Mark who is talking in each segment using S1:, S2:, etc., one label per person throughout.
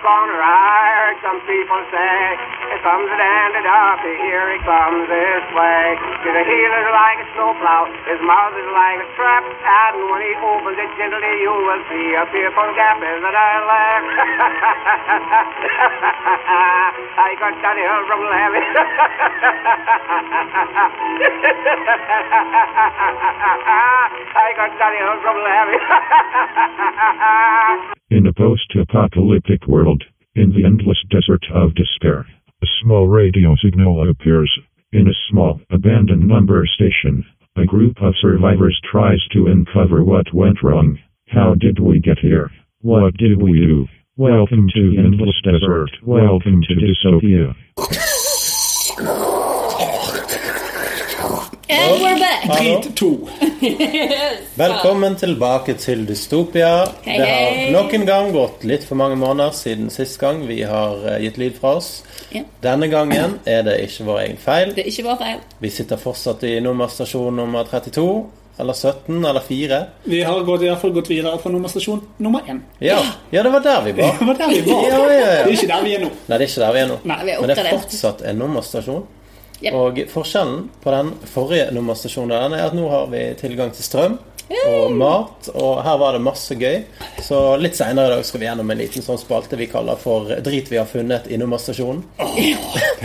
S1: gonna ride, some people say. Here comes the dandy darky, here he comes this way. His heel is like a snowplow, his mouth is like a trap, and when he opens it gently, you will see a fearful gap. Isn't I laugh? I got that hill from Lammy. I got that hill from Lammy.
S2: In a post apocalyptic world, in the endless desert of despair, a small radio signal appears. In a small, abandoned number station, a group of survivors tries to uncover what went wrong. How did we get here? What did we do? Welcome to Endless Desert. Welcome to Dystopia.
S3: And we're back!
S4: Bit to.
S5: Velkommen tilbake til Dystopia.
S3: Hei,
S5: det
S3: hei.
S5: har nok en gang gått litt for mange måneder siden sist gang vi har eh, gitt lyd fra oss.
S3: Ja.
S5: Denne gangen er det ikke vår egen feil.
S3: Det er ikke vår feil.
S5: Vi sitter fortsatt i nummerstasjon nummer 32, eller 17, eller 4.
S4: Vi har gått, i hvert fall gått videre fra nummerstasjon nummer én.
S5: Ja, ja det var der vi
S4: Det
S5: var.
S4: var der vi var.
S5: Ja, ja, ja.
S4: Det er ikke der vi er nå.
S5: Nei, det er ikke der vi er nå.
S4: Nei,
S3: vi er
S5: Men det er
S3: oppgradert.
S5: fortsatt en nummerstasjon.
S3: Ja.
S5: Og forskjellen på den forrige nummerstasjonen og den er at nå har vi tilgang til strøm og mat, og her var det masse gøy. Så litt seinere i dag skal vi gjennom en liten sånn spalte vi kaller for Drit vi har funnet i nummerstasjonen.
S4: Det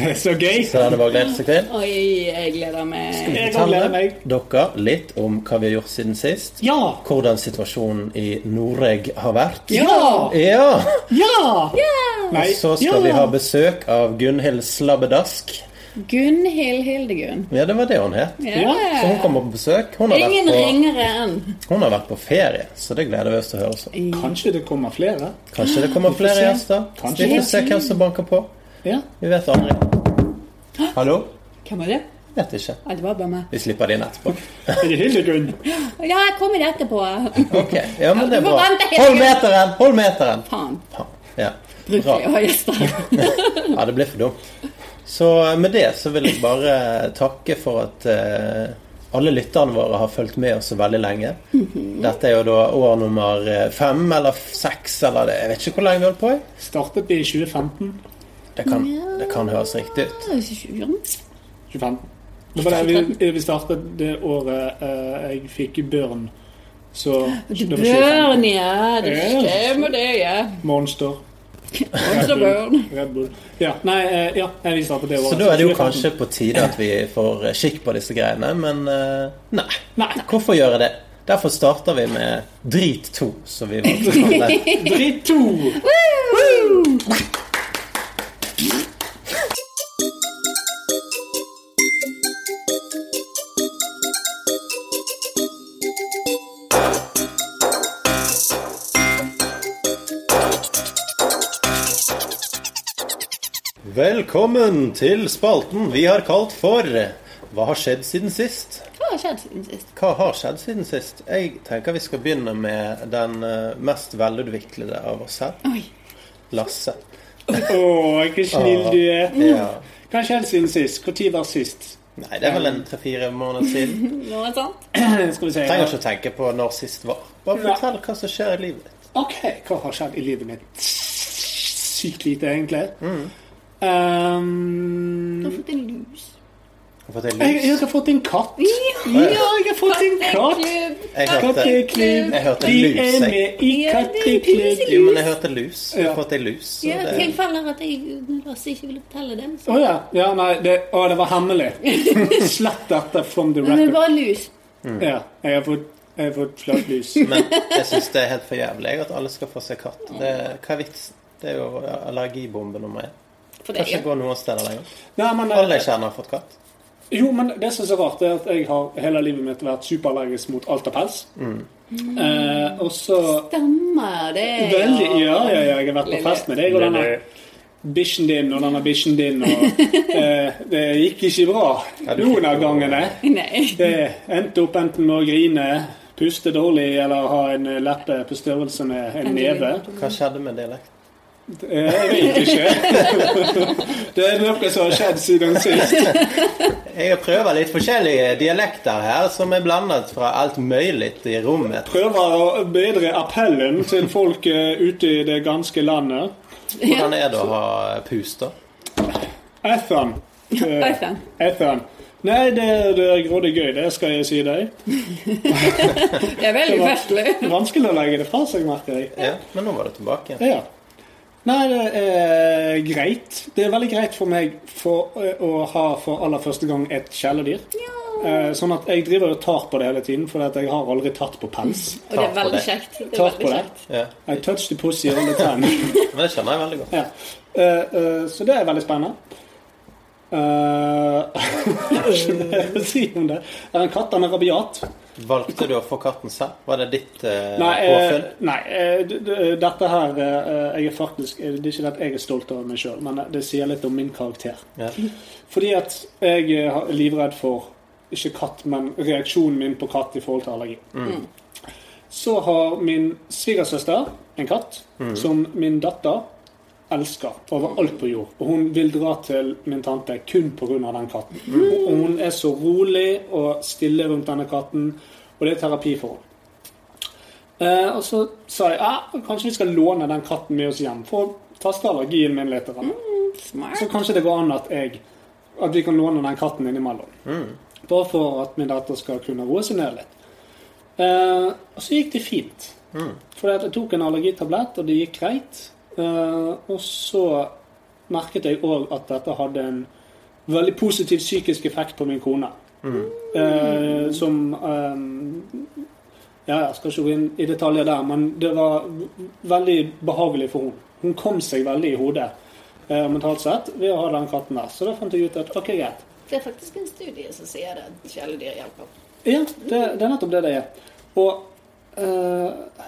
S4: er Så gøy.
S5: Så den er bare å glede seg til.
S3: Oi, jeg gleder meg.
S4: Jeg
S5: Fortelle
S4: gleder meg.
S5: dere litt om hva vi har gjort siden sist.
S4: Ja!
S5: Hvordan situasjonen i Noreg har vært.
S4: Ja!
S5: Ja!
S4: Ja! Nei,
S5: Så skal
S4: ja.
S5: vi ha besøk av Gunhild Slabbedask.
S3: Gunhild Hildegunn.
S5: Ja, det var det hun het.
S3: Ja.
S5: Så hun kommer på besøk. Hun har,
S3: Ingen
S5: vært
S3: ringere enn.
S5: på, hun har vært på ferie, så det gleder vi oss til å høre. Så.
S4: Kanskje det kommer flere.
S5: Kanskje det kommer flere gjester.
S4: Kanskje.
S5: Vi får se hvem som banker på.
S4: Ja.
S5: Vi vet aldri. Hallo?
S3: Hvem var det?
S5: Vet ikke.
S3: Ja, det var bare meg.
S5: Vi slipper det inn etterpå.
S4: Er det Hildegunn?
S3: Ja, jeg kommer etterpå.
S5: Ok, ja, men det
S3: Du
S5: er
S3: får
S5: bra.
S3: vente helt
S5: Hold
S3: til-
S5: meteren! Hold meteren!
S3: Faen.
S5: Faen. Ja. Bra.
S3: Brukelig å ha gjester.
S5: Ja, det blir for dumt. Så eh, med det så vil jeg bare takke for at eh, alle lytterne våre har fulgt med oss så veldig lenge.
S3: Mhm.
S5: Dette er jo da år nummer eh, fem eller f- seks eller det. Jeg vet ikke hvor lenge vi holdt på. i.
S4: Startet vi i 2015?
S5: Det kan, det kan høres riktig ut.
S4: 2015. Det var der vi, vi startet det året eh, jeg fikk børn. Så det var 2015.
S3: Børn, ja. Det
S4: Ja.
S3: stemmer, det. ja.
S4: Monster.
S3: Også børn.
S4: Red Bull. Ja, nei, eh, ja, nei, vi startet det året.
S5: Så da er det jo
S4: 2015.
S5: kanskje på tide at vi får eh, skikk på disse greiene, men eh, nei.
S4: Nei.
S5: Hvorfor gjøre det? Derfor starter vi med Drit 2, som vi valgte å kalle det.
S4: Dritt to!
S5: Velkommen til spalten vi har kalt for Hva har skjedd siden sist?
S3: Hva har skjedd siden sist?
S5: Hva har skjedd siden sist? Jeg tenker vi skal begynne med den eh, mest velutviklede av oss her.
S3: Oi.
S5: Lasse.
S4: Å, hvor snill du er.
S5: Ja.
S4: Hva skjedde siden sist? Når var sist?
S5: Nei, det er vel en tre-fire måneder siden.
S3: Noe sant?
S4: Skal vi se.
S5: Trenger ikke å tenke på når sist var. Bare
S4: Nei.
S5: fortell hva som skjer i livet ditt.
S4: OK, hva har skjedd i livet mitt? Sykt lite, egentlig.
S5: Mm.
S4: Um,
S3: Du har fått en lus.
S5: Har fått en
S4: jeg, jeg
S5: lus.
S4: har fått en katt.
S3: Ja,
S4: Ja, jeg har fått en katt.
S3: Katteklubb.
S4: Katteklubb.
S5: Jeg hørte, jeg hørte
S4: De
S5: lus,
S4: er
S5: jeg.
S4: med i katteklubb.
S5: Jo, men jeg hørte lus. Jeg har fått en lus. så
S3: Ja,
S5: det-
S3: tilfeller at jeg Lasse ikke ville fortelle den.
S4: Å
S3: Så.
S4: ja. ja. Nei, det, å, det var hemmelig. Slett dette from the
S3: Men det
S4: record.
S3: var lus.
S4: Ja, jeg har fått, jeg har fått flatt lus.
S5: Men jeg syns det er helt for jævlig jeg, at alle skal få seg katt. Det, hva er vitsen? Det er jo allergibombe nummer én.
S3: For
S5: Kan
S3: det, ja.
S5: ikke gå noen steder lenger.
S4: Nei, men, eh,
S5: Alle jeg kjenner, har fått katt.
S4: Jo, men det som er så rart, er at jeg har hele livet mitt vært superallergisk mot alt av pels. Eh, og så
S3: Stemmer det,
S4: Veldig, ja, ja, ja, jeg har vært på
S3: Lille.
S4: fest med deg og denne bikkjen din og denne bikkjen din og eh, Det gikk ikke bra
S5: du fikk
S4: noen av gangene.
S3: Nei.
S4: Det endte opp enten med å grine, puste dårlig eller ha en leppe på størrelse med en neve.
S5: Hva skjedde med dialekten?
S4: Eh, Jeg vet ikke. Det er noe som har skjedd siden sist.
S5: Jeg prøver litt forskjellige dialekter her, som er blandet fra alt mulig i rommet.
S4: prøver å bedre appellen til folk eh, ute i det ganske landet.
S5: Hvordan er det å ha pus, da?
S4: Ethan. Eh,
S3: Ethan.
S4: Ethan. Nei, det, det er grådig gøy, det skal jeg si deg.
S3: Det er veldig festlig.
S4: Vanskelig å legge det fra seg, merker jeg.
S5: Ja, men nå var det tilbake igjen.
S4: Ja. Nei, det er greit. Det er veldig greit for meg for, eh, å ha for aller første gang et kjæledyr. Eh, Sånn at jeg driver og tar på det hele tiden, for jeg har aldri tatt på pels.
S3: Og det
S5: Takk
S3: er
S5: for
S3: veldig
S5: det.
S3: kjekt. Det er
S4: Takk
S3: veldig
S4: for det.
S3: kjekt.
S5: Ja.
S4: I touched the pussy all the time.
S5: Men det skjønner jeg veldig godt.
S4: Ja. Eh, eh, så det er veldig spennende. Eh, Jeg har ikke mer å si om det. Er en katt, han er rabiat.
S5: Valgte du å få katten selv? Var det ditt eh,
S4: Nei, eh,
S5: påfunn?
S4: nei eh, d- d- dette her eh, jeg er faktisk, eh, Det er ikke det at jeg er stolt over meg sjøl, men eh, det sier litt om min karakter.
S5: Ja.
S4: Fordi at jeg er livredd for ikke katt, men reaksjonen min på katt i forhold til allergi. Så har min svigersøster en katt som min datter elsker overalt på jord. Og hun vil dra til min tante kun pga. den katten. Og hun er så rolig og stille rundt denne katten, og det er terapi for henne. Eh, og så sa jeg ah, kanskje vi skal låne den katten med oss hjem for å teste allergien min litt. Mm. Så
S3: Smart.
S4: kanskje det går an at jeg At vi kan låne den katten innimellom. Bare for at min datter skal kunne roe seg ned litt. Eh, og så gikk det fint. For jeg tok en allergitablett, og det gikk greit. Eh, og så merket jeg òg at dette hadde en veldig positiv psykisk effekt på min kone. Eh, som eh, Ja, jeg skal ikke gå inn i detaljer der, men det var veldig behagelig for henne. Hun kom seg veldig i hodet eh, mentalt sett ved å ha den katten der. Så da fant jeg ut at ok, greit.
S3: Det er faktisk en studie som sier det at kjæledyr hjelper.
S4: Ja, det, det er nettopp det det er. Og eh,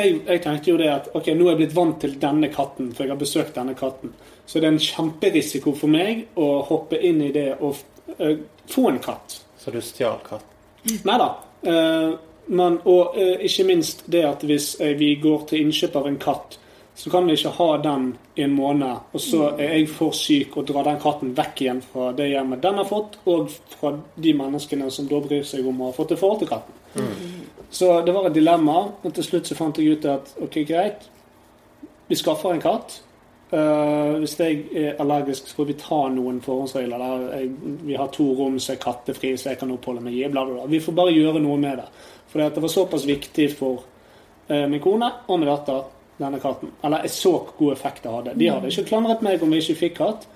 S4: jeg, jeg tenkte jo det at ok, nå er jeg blitt vant til denne katten, for jeg har besøkt denne katten. Så det er en kjemperisiko for meg å hoppe inn i det og eh, få en katt.
S5: Så du stjal katten?
S4: Nei da. Eh, men, og eh, ikke minst det at hvis eh, vi går til innkjøp av en katt, så kan vi ikke ha den i en måned, og så er jeg for syk og drar den katten vekk igjen fra det hjemmet den har fått, og fra de menneskene som da bryr seg om å ha fått et forhold til katten. Så det var et dilemma, men til slutt så fant jeg ut at ok, greit, vi skaffer en katt. Eh, hvis jeg er allergisk, så får vi ta noen forhåndsregler. Der. Jeg, vi har to rom som er kattefrie, så jeg kan oppholde meg i. Bla, bla, bla. Vi får bare gjøre noe med det. For det var såpass viktig for eh, min kone og min datter, denne katten. Eller jeg så god effekt det hadde. De hadde ikke klandret meg om vi ikke fikk katt,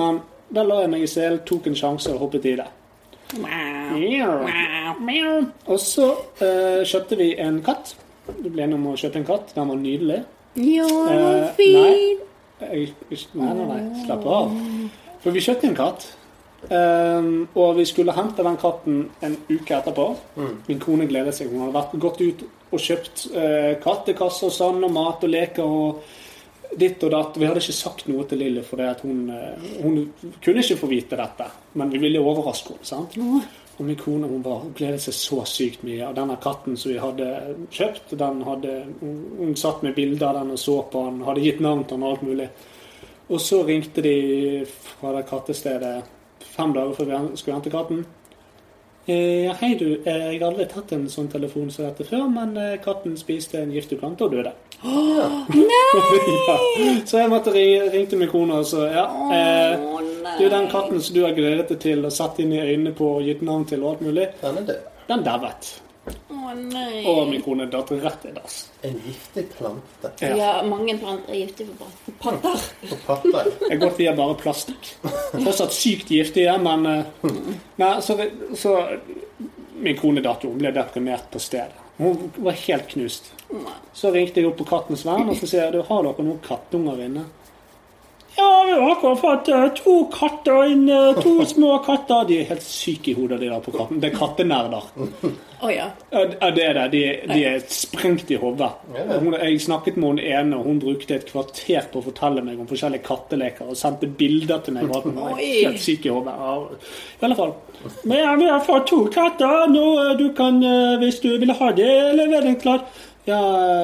S4: men da la jeg meg i selen, tok en sjanse og hoppet i det.
S3: Wow.
S4: Meow. Meow. Og så eh, kjøpte vi en katt. Vi ble enige om å kjøpe en katt. Den var nydelig.
S3: Ja, det var
S4: Eh,
S3: fint.
S4: Jeg, jeg- nei, nei, nei, slapp av. For vi kjøpte en katt. ehm, og vi skulle hente den katten en uke etterpå. Min kone gledet seg. Hun hadde vært, gått ut og kjøpt eh, kattekasser og sånn, og mat og leker og ditt og datt. Vi hadde ikke sagt noe til Lilly, for det at hun, eh, hun kunne ikke få vite dette. Men vi ville overraske henne. sant? Og min kone hun bare gledet seg så sykt mye. Og denne katten som vi hadde kjøpt, den hadde, hun, hun satt med bilder av den og så på den, hadde gitt navn til den og alt mulig. Og så ringte de fra det kattestedet fem dager før vi hen- skulle hente katten. Eh, Ja, hei du, eh, jeg har aldri tatt en sånn telefon som dette før, men eh, katten spiste en giftig plante og døde. ja. Så jeg måtte ringe, ringte min kone og så, ja. Eh,
S3: Å, nei.
S4: det er jo den katten som du har gledet deg til og satt inn i øynene på og gitt navn til og alt mulig,
S5: Den er død.
S4: den dauet.
S3: Å, nei.
S4: Og min kone datt rett i dass.
S5: En giftig plante.
S4: Ja.
S3: Ja, mange planter er giftige for pat- patter.
S5: På patter.
S4: Jeg godt vi er bare plastikk. Fortsatt sykt giftige, men eh, Nei, så, så Min kone datt jo. Hun ble deprimert på stedet. Hun var helt knust. Så ringte jeg opp på Kattens Vern og så sier jeg, du har dere noen kattunger inne. Ja, vi har akkurat fått eh, to katter inn, eh, to små katter. De er helt syke i hodet, de der på katten. Det er kattenerder.
S3: Å ja.
S4: Ja, det er det. De, de er sprengt i hodet. Hun- Jeg snakket med hun ene, og hun brukte et kvarter på å fortelle meg om forskjellige katteleker og sendte bilder til meg. og alt. Hun var
S3: Oi.
S4: helt syk i hodet. Ja, I alle fall. Men ja, vi har fått to katter. Nå, eh, du kan, eh, hvis du vil ha det, lever den klar. Ja,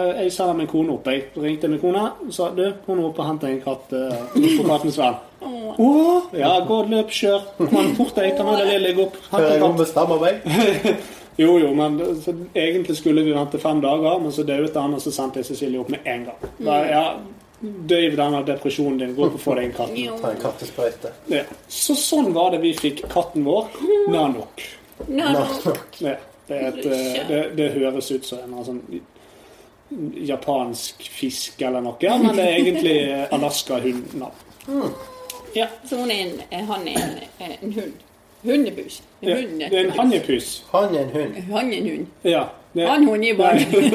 S4: eh, jeg sender min kone opp. Jeg ringte min kone og sa du, kom opp og hent en katt eh, på Kattens venn. Å, ja, gå og løp, kjør. Kom fort deg, ta med deg lille, gå opp. Hent
S5: Før
S4: en
S5: jeg
S4: katt.
S5: ombestemmer meg.
S4: Jo, jo, men så,
S3: Mm.
S4: egentlig skulle vi vente fem dager, men så dauet han, og så sendte jeg Cecilie opp med en gang. Da, ja, døyv den av depresjonen din. Gå opp og få deg en katt.
S3: Jo.
S5: Ta en kattesprøyte.
S4: Ja. Så sånn var det vi fikk katten vår. Nanok.
S3: Nå,
S5: Nå,
S3: nå.
S4: Ja. Det, er et, eh, det, det høres ut som en sånn japansk fisk eller noe, ja, men det er egentlig eh, Alaska-hundnavn.
S5: Mm.
S4: Ja.
S3: Så hun er en, eh, han er en, eh, en hund. Hundebus. En
S4: Det,
S3: hund.
S4: det er en hannepus.
S5: Han er en hund.
S3: Han er en hund.
S4: Ja. Det,
S3: Han hund i barn.
S5: Hun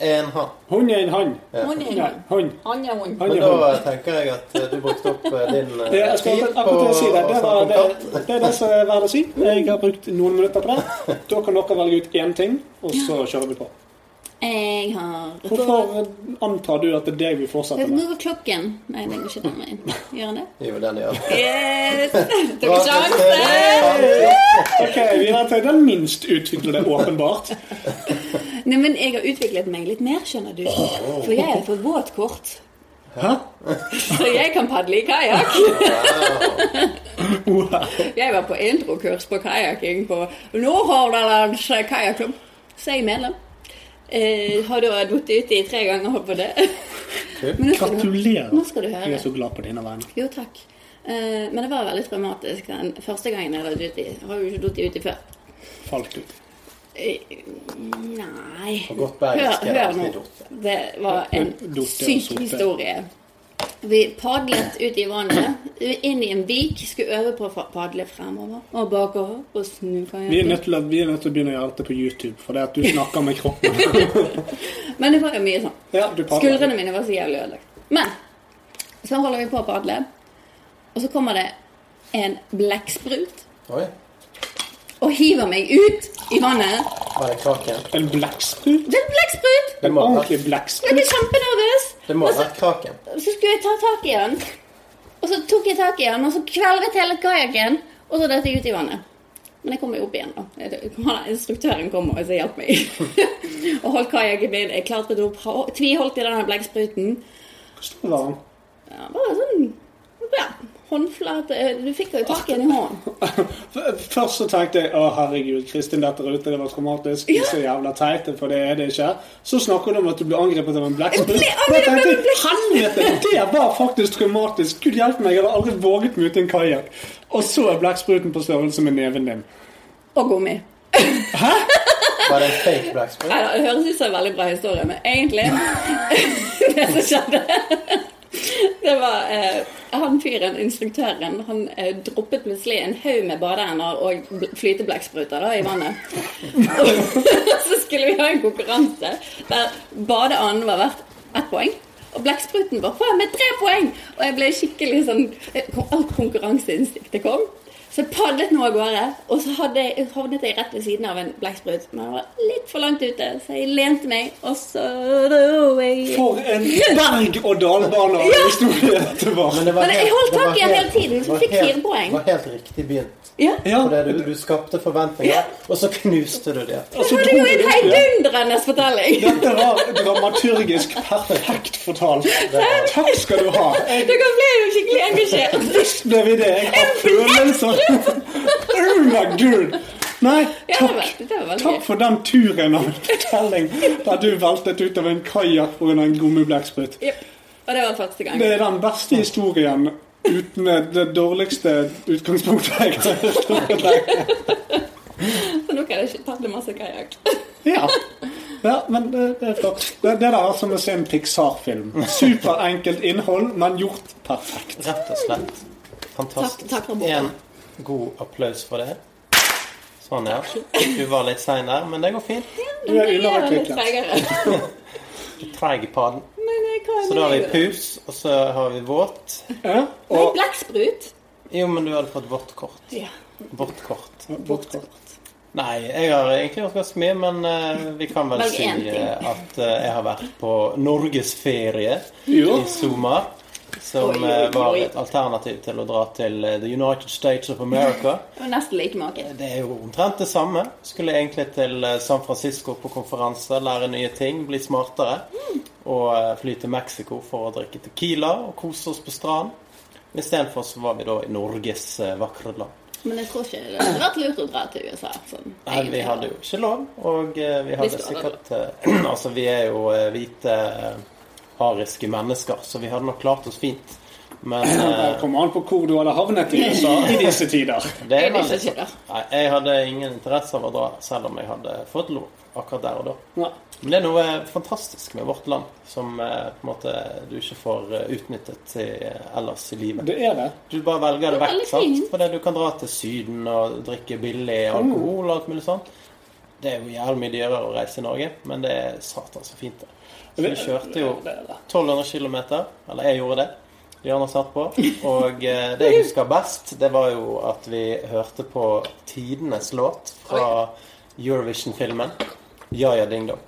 S5: er en hann.
S4: Hun er en hann.
S3: Hun er en
S4: Ja,
S3: hund.
S4: hun.
S3: Han er hund.
S4: Han
S5: Men
S4: er
S5: da
S4: hund.
S5: eh, tenker jeg at eh, du brukte opp eh, din eh,
S4: Det, jeg skal
S5: tid på
S4: akkurat til å si det.
S5: å
S4: Det,
S5: snakke
S4: var,
S5: om
S4: det,
S5: katt.
S4: det er det som er verdt å si. Jeg har brukt noen minutter på det. Da kan dere velge ut én ting, og så kjører vi på.
S3: Jeg har
S4: Hvorfor antar du at det er det vi fortsetter
S3: Nå
S4: med?
S3: går klokken. Nei, den går ikke den veien. Gjør den det?
S5: Jo, den gjør det.
S3: Yes! Tok
S5: Bra,
S3: sjansen!
S4: Ok, Vi har til den minst utviklede, åpenbart.
S3: Nei, men jeg har utviklet meg litt mer, skjønner du. For jeg har fått båtkort.
S4: Hæ?
S3: Så jeg kan padle i kajakk.
S4: Wow.
S3: Jeg var på introkurs på kajakking på Nordhordlands kajakklubb. Så jeg er medlem. Eh, har da datt uti tre ganger holdt på det. Men nå skal du-
S4: Gratulerer.
S3: Nå skal du høre.
S4: Jeg er så glad på dine vegne.
S3: Jo, takk. Eh, men det var veldig traumatisk den første gangen jeg datt uti. Har jo ikke datt uti før.
S4: Falt ut.
S3: Eh, Nei
S5: På
S3: Hør,
S5: godt bergensk er det
S3: hør
S5: alltid
S3: nå.
S5: dort.
S3: Det var en
S4: Dorte og
S3: syk
S4: Sorte.
S3: historie. Vi padlet ut i vannet, inn i en vik, skulle øve på å fa- padle fremover og bakover. Og snu
S4: Vi er
S3: kajakken.
S4: nødt til å, vi er nødt til å begynne å gjøre dette på YouTube, for det at du snakker med kroppen.
S3: Men det var jo mye sånn.
S4: Ja, du prater.
S3: Skuldrene mine var så jævlig ødelagt. Men så holder vi på å padle, og så kommer det en blekksprut
S5: Oi,
S3: og hiver meg ut i vannet.
S5: var det kraken?
S4: En blekksprut?
S3: Det er en blekksprut!
S5: Det
S4: En
S5: må ha
S4: ordentlig
S5: vært-
S3: Jeg
S4: blekksprut?
S3: blir kjempenervøs.
S5: det må ha vært kraken.
S3: Så skulle jeg ta tak i han. Og så tok jeg tak i han, og så kvelvet hele kajakken. Og så datt jeg ut i vannet. Men jeg kom meg opp igjen. da. Jeg- han- Instruktøren kom og så hjalp meg. og holdt kajakken min. Jeg klatret opp, ha- tviholdt i denne blekkspruten.
S4: Hvordan var den?
S3: Ja, bare sånn ja, håndflate Du fikk jo tak i den i hånden.
S4: F- Først så tenkte jeg å herregud, Kristin dette ute, det var traumatisk.
S3: Ja.
S4: Så jævla teit, for det er det ikke. Så snakker du om at du ble angrepet av en blekksprut.
S3: Jeg ble
S4: Da
S3: angrepet av
S4: tenkte
S3: en
S4: jeg, Helvete, det var faktisk traumatisk. Gud hjelpe meg, jeg hadde aldri våget meg ut i en kajakk. Og så er blekkspruten på størrelse med neven din.
S3: Og gummi.
S5: Var det en fake blacksprut?
S3: Nei, da, Det høres ut som en veldig bra historie, men egentlig Det som skjedde Det var eh, han fyren, instruktøren, han eh, droppet plutselig en haug med badeender og bl- flyteblekkspruter da, i vannet. Og så skulle vi ha en konkurranse der badeanden var verdt ett poeng. Og blekkspruten var faen med tre poeng! Og jeg ble skikkelig sånn eh, kom- Alt konkurranseinstinktet kom. Så jeg padlet nå av gårde, og så hadde jeg, havnet jeg rett ved siden av en blekksprut. Men den var litt for langt ute, så jeg lente meg, og så dro jeg
S4: For en berg-og-dal-bane av en historie dette var.
S5: Men, det var
S3: Men jeg
S5: helt-
S3: holdt
S5: det var
S3: tak i den hele
S5: helt-
S3: tiden, så
S5: det var
S3: fikk fire
S5: helt-
S3: poeng.
S5: Det var helt riktig begynt.
S3: Ja.
S4: Ja,
S5: For det du, du skapte forventninger, og så knuste du det.
S4: og
S3: Så
S4: så
S3: var det
S4: dro
S3: jo
S4: du
S3: en
S4: ut igjen.
S3: heidundrende fortelling!
S4: Dette var dramaturgisk perfekt fortalt. Takk skal du ha. Jeg
S3: Dere ble jo skikkelig engasjert.
S4: visste vi det. Jeg har følelser. Oh my god. Nei,
S3: Ja, det var,
S4: takk.
S3: det var veldig
S4: Takk
S3: gøy.
S4: for den turen av en fortelling der du veltet ut av en kajakk pga. en gummibleksprut.
S3: Jep. Og det var første gang.
S4: Det er den beste historien uten det dårligste utgangspunktet jeg har hørt.
S3: Så nå kan jeg ikke padle masse kajakk.
S4: Ja. ja, men det, det er flott. Det, det der er som å se en Pixar-film. Superenkelt innhold, men gjort perfekt.
S5: Rett og slett. Fantastisk.
S3: Takk- takk for boka.
S5: en god applaus for det. Sånn, ja. Du var litt sein der, men det går fint.
S4: Du
S3: Jeg
S4: er
S3: var litt
S4: underutviklet.
S3: treigere.
S5: Treig i padden.
S3: Men eh, jeg kan
S5: Så da har vi
S3: jo-
S5: pus, og så har vi våt.
S4: Ja,
S3: Nei,
S4: og
S3: blekksprut.
S5: Jo, men du hadde fått vått kort.
S3: Ja.
S5: Vått kort.
S4: vodka.
S5: Nei, jeg har egentlig gjort ganske mye, men eh, vi kan vel
S3: Velg
S5: si
S3: en ting.
S5: eh, at eh, jeg har vært på norgesferie
S4: Ja.
S5: i sommer. Som
S3: Oi, oi,
S5: eh, var
S3: oi.
S5: et alternativ til å dra til eh, The United States of America.
S3: Det var nesten like maken.
S5: Det er jo omtrent det samme. Skulle egentlig til eh, San Francisco på konferanse, lære nye ting, bli smartere. Og eh, fly til Mexico for å drikke Tequila og kose oss på stranden. Men Istedenfor så var vi da i Norges eh, vakre land.
S3: Men jeg tror ikke det hadde vært lurt å dra til USA. Sånn,
S5: Nei, vi
S3: egentlig.
S5: hadde jo ikke lov, og eh, vi hadde
S3: skulle ha
S5: sikkert eh, Altså, vi er jo eh, hvite eh, ariske mennesker, så vi hadde nok klart oss fint. Men
S4: Det
S5: eh,
S4: kommer an på hvor du hadde havnet i USA i disse tider.
S5: det
S3: Jeg
S5: er
S3: vil
S5: veldig
S3: ikke det.
S5: Nei, jeg hadde ingen interesse av å dra, selv om jeg hadde fått lov akkurat der og da.
S4: Ja.
S5: Men det er noe fantastisk med vårt land som eh, på en måte du ikke får eh, utnyttet i, ellers i livet.
S4: Det er det.
S5: Du bare velger
S3: Det
S5: det
S3: er
S5: vekk,
S3: veldig
S5: sant?
S3: fint.
S5: Fordi du kan dra til Syden og drikke billig alkohol og alt mulig sånt. Det er jo jævlig mye dyrere å reise i Norge, men det er satan så fint. det. Så vi kjørte jo
S4: Det er det.
S5: 1200 km, eller jeg gjorde det. De andre satt på. Og eh, det jeg husker best, det var jo at vi hørte på tidenes låt fra Eurovision-filmen. Ja ja ding dong.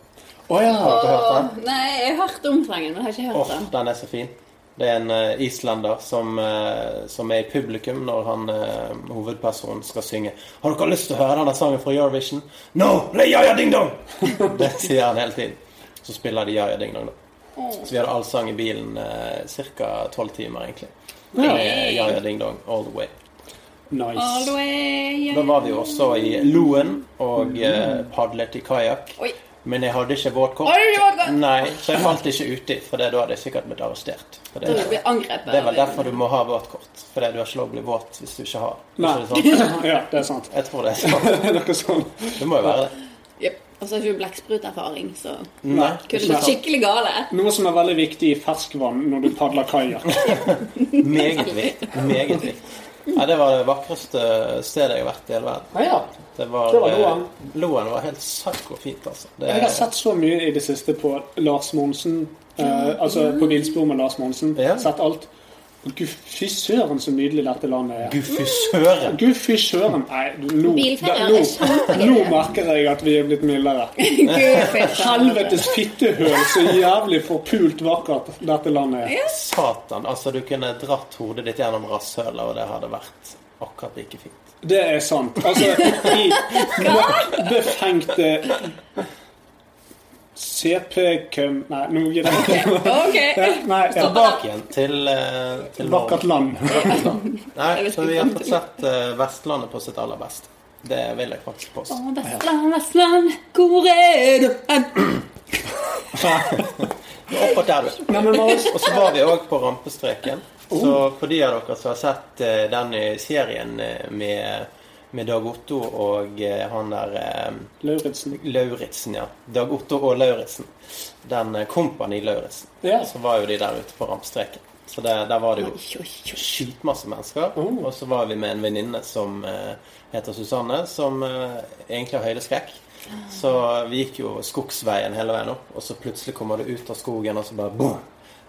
S4: Å ja.
S5: Har dere hørt den?
S3: Nei, jeg har hørt om sangen, men jeg har ikke
S5: Åh,
S3: hørt den.
S5: den er så fin. Det er en eh, islender som, eh, som er i publikum når han, eh, hovedpersonen skal synge. Har dere lyst til å høre denne sangen fra Eurovision? No! Det er Ja ja ding dong! Det sier han hele tiden. Så spiller de Ja ja ding dong, da. Så vi hadde allsang i bilen eh, ca. tolv timer, egentlig. Med Ja ja ding dong all the way.
S3: All the
S4: Nice.
S3: way,
S5: Da
S3: yeah.
S5: var vi jo også i Loen og eh, padlet i kajakk.
S3: Oi.
S5: Men jeg hadde ikke
S3: Har du
S5: våtkort.
S3: ikke vært der?
S5: Nei, så jeg falt ikke uti, for det- da hadde jeg sikkert blitt arrestert. For
S3: Da vil du bli angrepet.
S5: Det er vel derfor du må ha våtkort. Fordi du har ikke lov å bli våt hvis du ikke har.
S4: Nei.
S5: Ikke det sånn?
S4: Ja, det er sant.
S5: Jeg tror det er sånn.
S4: Det er noe sånn.
S5: Det må jo være det.
S3: Jep. Og så har ikke du blekkspruterfaring, så
S5: Nei.
S3: kunne det gått skikkelig gale.
S4: Noe som er veldig viktig i ferskvann når du padler kajakk.
S5: Meget viktig. Meget viktig. Nei, det var det vakreste stedet jeg har vært i hele verden.
S4: Ja, ja.
S5: Det var,
S4: Det var Loen.
S5: eh, Loen var helt psykofint, altså. Det,
S4: Jeg har sett så mye i det siste på Lars Monsen. Eh, altså på villspor med Lars Monsen.
S5: Ja.
S4: Sett alt. Gud, Fy søren, så nydelig dette landet er.
S5: Gud, fy søren!
S4: Gud, fy søren. Nei, du, nå,
S3: Bilferder
S4: nå,
S3: er kjempegøy.
S4: nå merker jeg at vi er blitt mildere.
S3: Gud, fy faen.
S4: Helvetes fittehøl, så jævlig forpult vakkert dette landet er.
S5: Satan. Altså, du kunne dratt hodet ditt gjennom rasshølet, og det hadde vært akkurat like fint.
S4: Det er sant. Altså, i mørkt befengte CP-køm Nei, nå gir jeg ikke.
S3: Ok.
S4: Nei, ja.
S5: Tilbake igjen til, eh, til Norge.
S4: Vakkert land.
S5: Nei, så vi har fått sett eh, Vestlandet på sitt aller beste. Det vil jeg faktisk påstå.
S3: Å, Vestland, Vestland, hvor er du hen?
S5: Akkurat der, du.
S4: Nei, men Marius, Oh.
S5: Og så var vi òg på rampestreken. Så for de av dere som har sett eh, den i serien eh, med, med Dag Otto og eh, han der eh,
S4: Lauritzen.
S5: Lauritzen, ja. Dag Otto og Lauritzen. Den eh, Kompani Lauritzen.
S4: Ja.
S5: Så var jo de der ute på rampestreken. Så det, der var det jo
S3: Oi, oi, oi.
S5: skitmasse mennesker. Og så var vi med en venninne som eh, heter Susanne, som eh, egentlig har høydeskrekk. Så vi gikk jo skogsveien hele veien opp, og så plutselig kommer du ut av skogen, og så bare boom!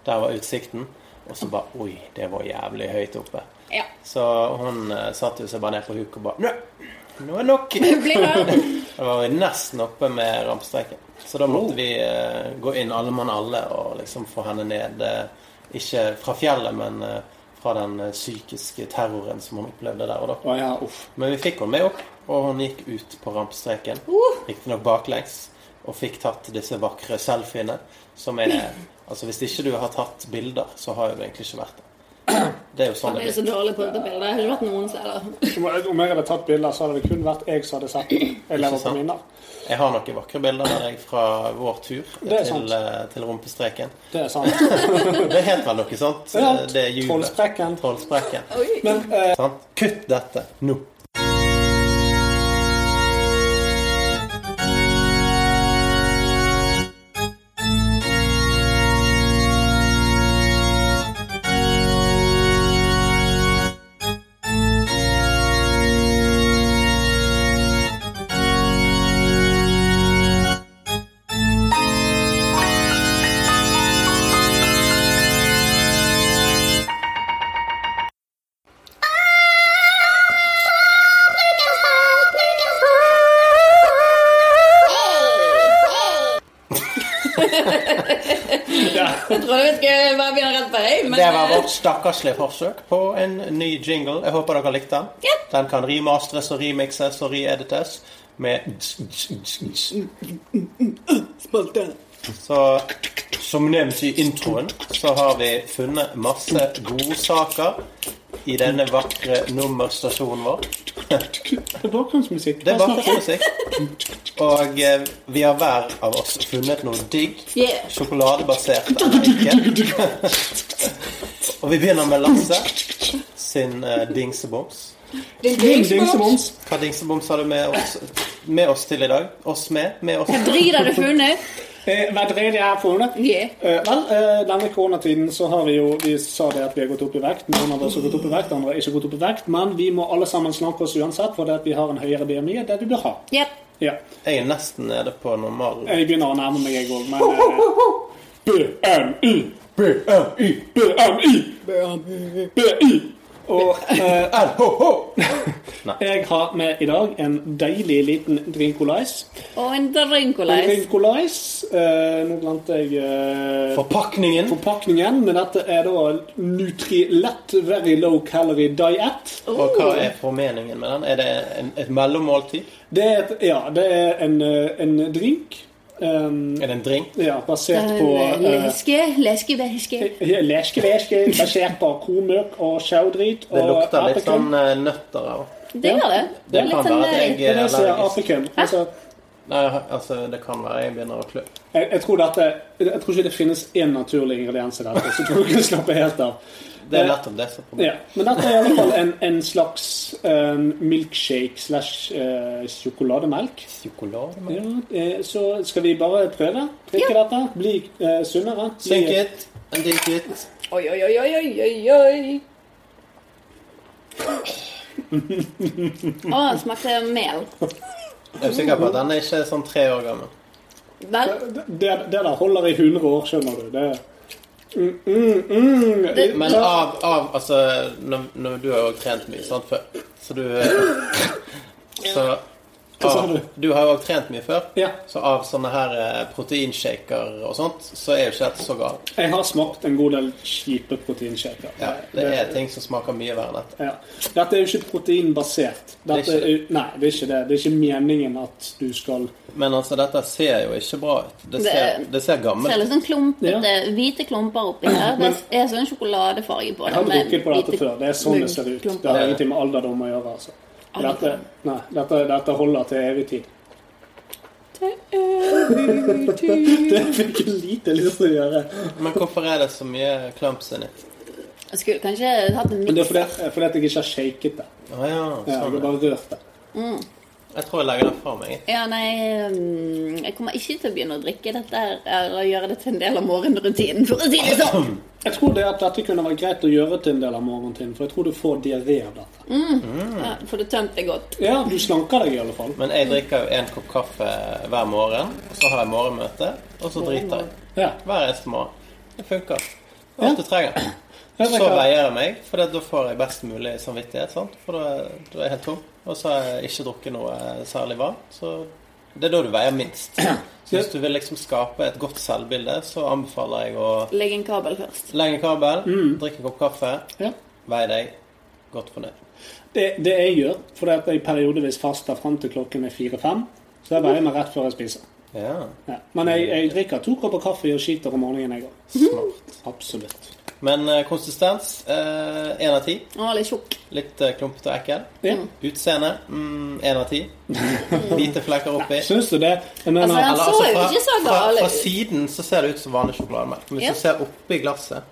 S5: Der var utsikten. Og så bare Oi, det var jævlig høyt oppe.
S3: Ja.
S5: Så hun eh, satte jo seg bare ned på huk og bare Nå, nå er nok!
S3: Blir det?
S5: Da var vi nesten oppe med rampestreken. Så da
S4: Oh.
S5: måtte vi eh, gå inn alle mann alle og liksom få henne ned. eh, ikke fra fjellet, men eh, fra den eh, psykiske terroren som hun opplevde der og da.
S4: Å ja, uff.
S5: Men vi fikk henne med opp, og hun gikk ut på rampestreken.
S4: Oh.
S5: Riktignok baklengs. Og fikk tatt disse vakre selfiene, som er Altså, hvis ikke du har tatt bilder, så har jo du egentlig ikke vært der. Det er jo sånn
S3: Jeg
S5: det
S3: er så
S5: blir.
S3: dårlig på dette bildet. Jeg har ikke vært noen steder.
S4: Om jeg om jeg hadde tatt bilder, så hadde det kun vært jeg som hadde sett det. Jeg lever på
S5: sant?
S4: minner.
S5: Jeg har noen vakre bilder av deg fra vår tur
S4: Det er
S5: til,
S4: sant.
S5: eh, til rumpestreken.
S4: Det er sant.
S5: Det het vel noe sånt?
S4: Ja,
S5: Det er hjulet.
S4: Trollsprekken.
S5: Trollsprekken.
S4: Men eh,
S5: Sant? Kutt dette nå.
S3: Jeg trodde vi skulle bare begynne rett på deg, men eh,
S5: Det var vårt stakkarslige forsøk på en ny jingle. Jeg håper dere likte den.
S3: Ja.
S5: Den kan remasters og remixes og reedites med
S3: Spalte.
S5: Så som nevnt i introen, så har vi funnet masse godsaker i denne vakre nummerstasjonen vår.
S4: det er bakgrunnsmusikk.
S5: Det
S4: Hva snakker du
S5: er
S4: om?
S5: bakgrunnsmusikk. Og eh, vi har hver av oss funnet noe digg
S3: Yeah.
S5: sjokoladebasert. eller ikke. og vi begynner med Lasse sin eh, dingseboms.
S3: Din
S4: Ding, ding,
S3: dingsbom.
S4: boms.
S5: Hva dingseboms har du med oss, med oss til i dag? Oss med? Med oss?
S3: Vrir har du funnet?
S4: Eh, Hva dreier det her for noe?
S3: Yeah.
S4: Eh, vel, eh, denne koronatiden så har vi jo Vi sa det at vi har gått opp i vekt. Noen av oss har gått opp i vekt, andre har ikke gått opp i vekt. Men vi må alle sammen slanke oss uansett, for det at vi har en høyere BMI enn det vi bør ha.
S3: Yep.
S4: Ja.
S5: Jeg er nesten nede på normal.
S4: Jeg begynner å nærme meg, jeg òg, men eh, BMI! BMI! BMI! BMI! Og eh, jeg har med i dag en deilig liten drinkolais.
S3: Og en drinkolais.
S4: Drinkolais eh, Nå glemte jeg eh,
S5: Forpakningen.
S4: forpakningen, men dette er da Nutrilett Very Low Calorie Diet.
S5: Og hva er formeningen med den? Er det en, et mellommåltid?
S4: Det er, et, ja, det er en, eh, en drink eh,
S5: Er det en drink?
S4: ja, basert på eh,
S3: Leske, leske, leske.
S4: Leske, leske, basert på komøk og sjauedrit
S5: Det
S4: og
S5: lukter litt
S4: apekøm.
S5: sånn eh, nøtter av.
S3: Det gjør det. Det
S5: Det
S3: er litt
S5: kan
S3: sånn
S5: være at
S3: eh,
S5: jeg
S4: Det er
S5: er
S4: det som er
S5: allergisk.
S4: apekøm. Altså,
S5: Nei, altså, det kan være jeg begynner å klø.
S4: jeg, jeg, tror dette, jeg tror ikke det finnes én naturlig ingrediens i dette, så jeg tror du kan slappe helt av.
S5: Det er nettopp det som er
S4: Ja,
S5: problemet.
S4: men dette er i alle fall en, en slags eh, milkshake slash eh, sjokolademelk.
S5: Psykolog?
S4: Ja, eh, så skal vi bare prøve. Drikke dette, bli eh, sunnere. bli-
S5: Drink it and drink it.
S3: Oi, oi, oi, oi, oi, oi, oi. Å, den smakte mel.
S5: Jeg er sikker på at den er ikke sånn tre år gammel.
S3: Vel,
S4: Eh, Det, det der holder i 100 år, skjønner du. Det Mm, mm, mm.
S3: Det-
S5: Men av, av altså når, når Du har jo også trent mye, sant, før. Så du eh, Så
S4: sa
S5: av,
S4: du?
S5: Du har jo også trent mye før.
S4: Ja.
S5: Så av sånne her eh, proteinshaker og sånt, så er jo ikke dette så galt.
S4: Jeg har smakt en god del kjipe proteinshaker.
S5: Ja, det er ting som smaker mye verre enn dette.
S4: Ja. Dette er jo ikke proteinbasert. Dette
S5: Det er
S4: er nei, det er ikke det. Det er ikke meningen at du skal
S5: Men altså, dette ser jo ikke bra ut. Det
S3: Det-
S5: ser, det ser
S3: det er
S5: gammelt ut.
S3: litt sånn klumpete,
S4: Ja.
S3: hvite klumper oppi her. Det er sånn sjokoladefarge på
S4: Jeg har
S3: det. med
S4: drukket på dette
S3: hvite
S4: før. Det er sånn det ser ut. Det
S3: munnklumper.
S4: har ingenting med alderdom å gjøre. altså. Dette, nei, dette, dette holder til evig tid. Det fikk jeg lite lyst til å gjøre.
S5: Men hvorfor er det så mye clumps inni?
S3: Jeg skulle kanskje hatt en
S4: Men det er
S3: mix.
S4: fordi, fordi at jeg ikke har shaket det.
S5: Å ja,
S4: Jeg har
S5: sånn. ja.
S4: bare rørt det.
S5: Jeg tror jeg legger den fra meg. jeg.
S3: Ja, nei, mm, jeg kommer ikke til å begynne å drikke dette her, eller gjøre det til en del av morgenrutinen, for å si det sånn.
S4: Jeg tror det at dette kunne vært greit å gjøre til en del av morgentiden, for jeg tror du får diaré av dette.
S3: Ja, for du tømte det godt.
S4: Ja, du slanker deg i alle fall.
S5: Men jeg drikker jo en kopp kaffe hver morgen, og så har jeg morgenmøte, og så driter jeg.
S4: Ja.
S5: Hver eneste morgen. Det funker. Alt du trenger.
S4: Jeg
S5: Så
S4: drikker-
S5: veier jeg meg, for da får jeg best mulig samvittighet, sant? for da da er jeg helt tom. Og så har jeg ikke drukket noe særlig varmt, så det er da du veier minst. Så hvis du vil liksom skape et godt selvbilde, så anbefaler jeg å
S3: Legg en kabel først.
S5: legge en kabel, drikke en kopp kaffe,
S4: Ja.
S5: veie deg, godt fornøyd.
S4: Det, det jeg gjør, for det at jeg periodevis faster frem til klokken er fire-fem, så jeg veier meg rett før jeg spiser.
S5: Ja,
S4: Ja. Men jeg, jeg drikker to kopper kaffe og skiter om morgenen, jeg òg.
S5: smart.
S4: Absolutt.
S5: Men eh, konsistens én av ti.
S3: Å, litt tjukk.
S5: Litt eh, klumpete og ekkel.
S4: Ja.
S5: Utseende én av ti. Hvite flekker oppi.
S4: Syns du det? Jeg mener,
S3: Altså, Han så jo
S5: fra,
S3: ikke så
S5: fra,
S3: gal
S5: fra
S3: ut.
S5: siden så ser det ut som vanlig sjokolademelk. Men hvis
S3: Ja.
S5: du ser oppi glasset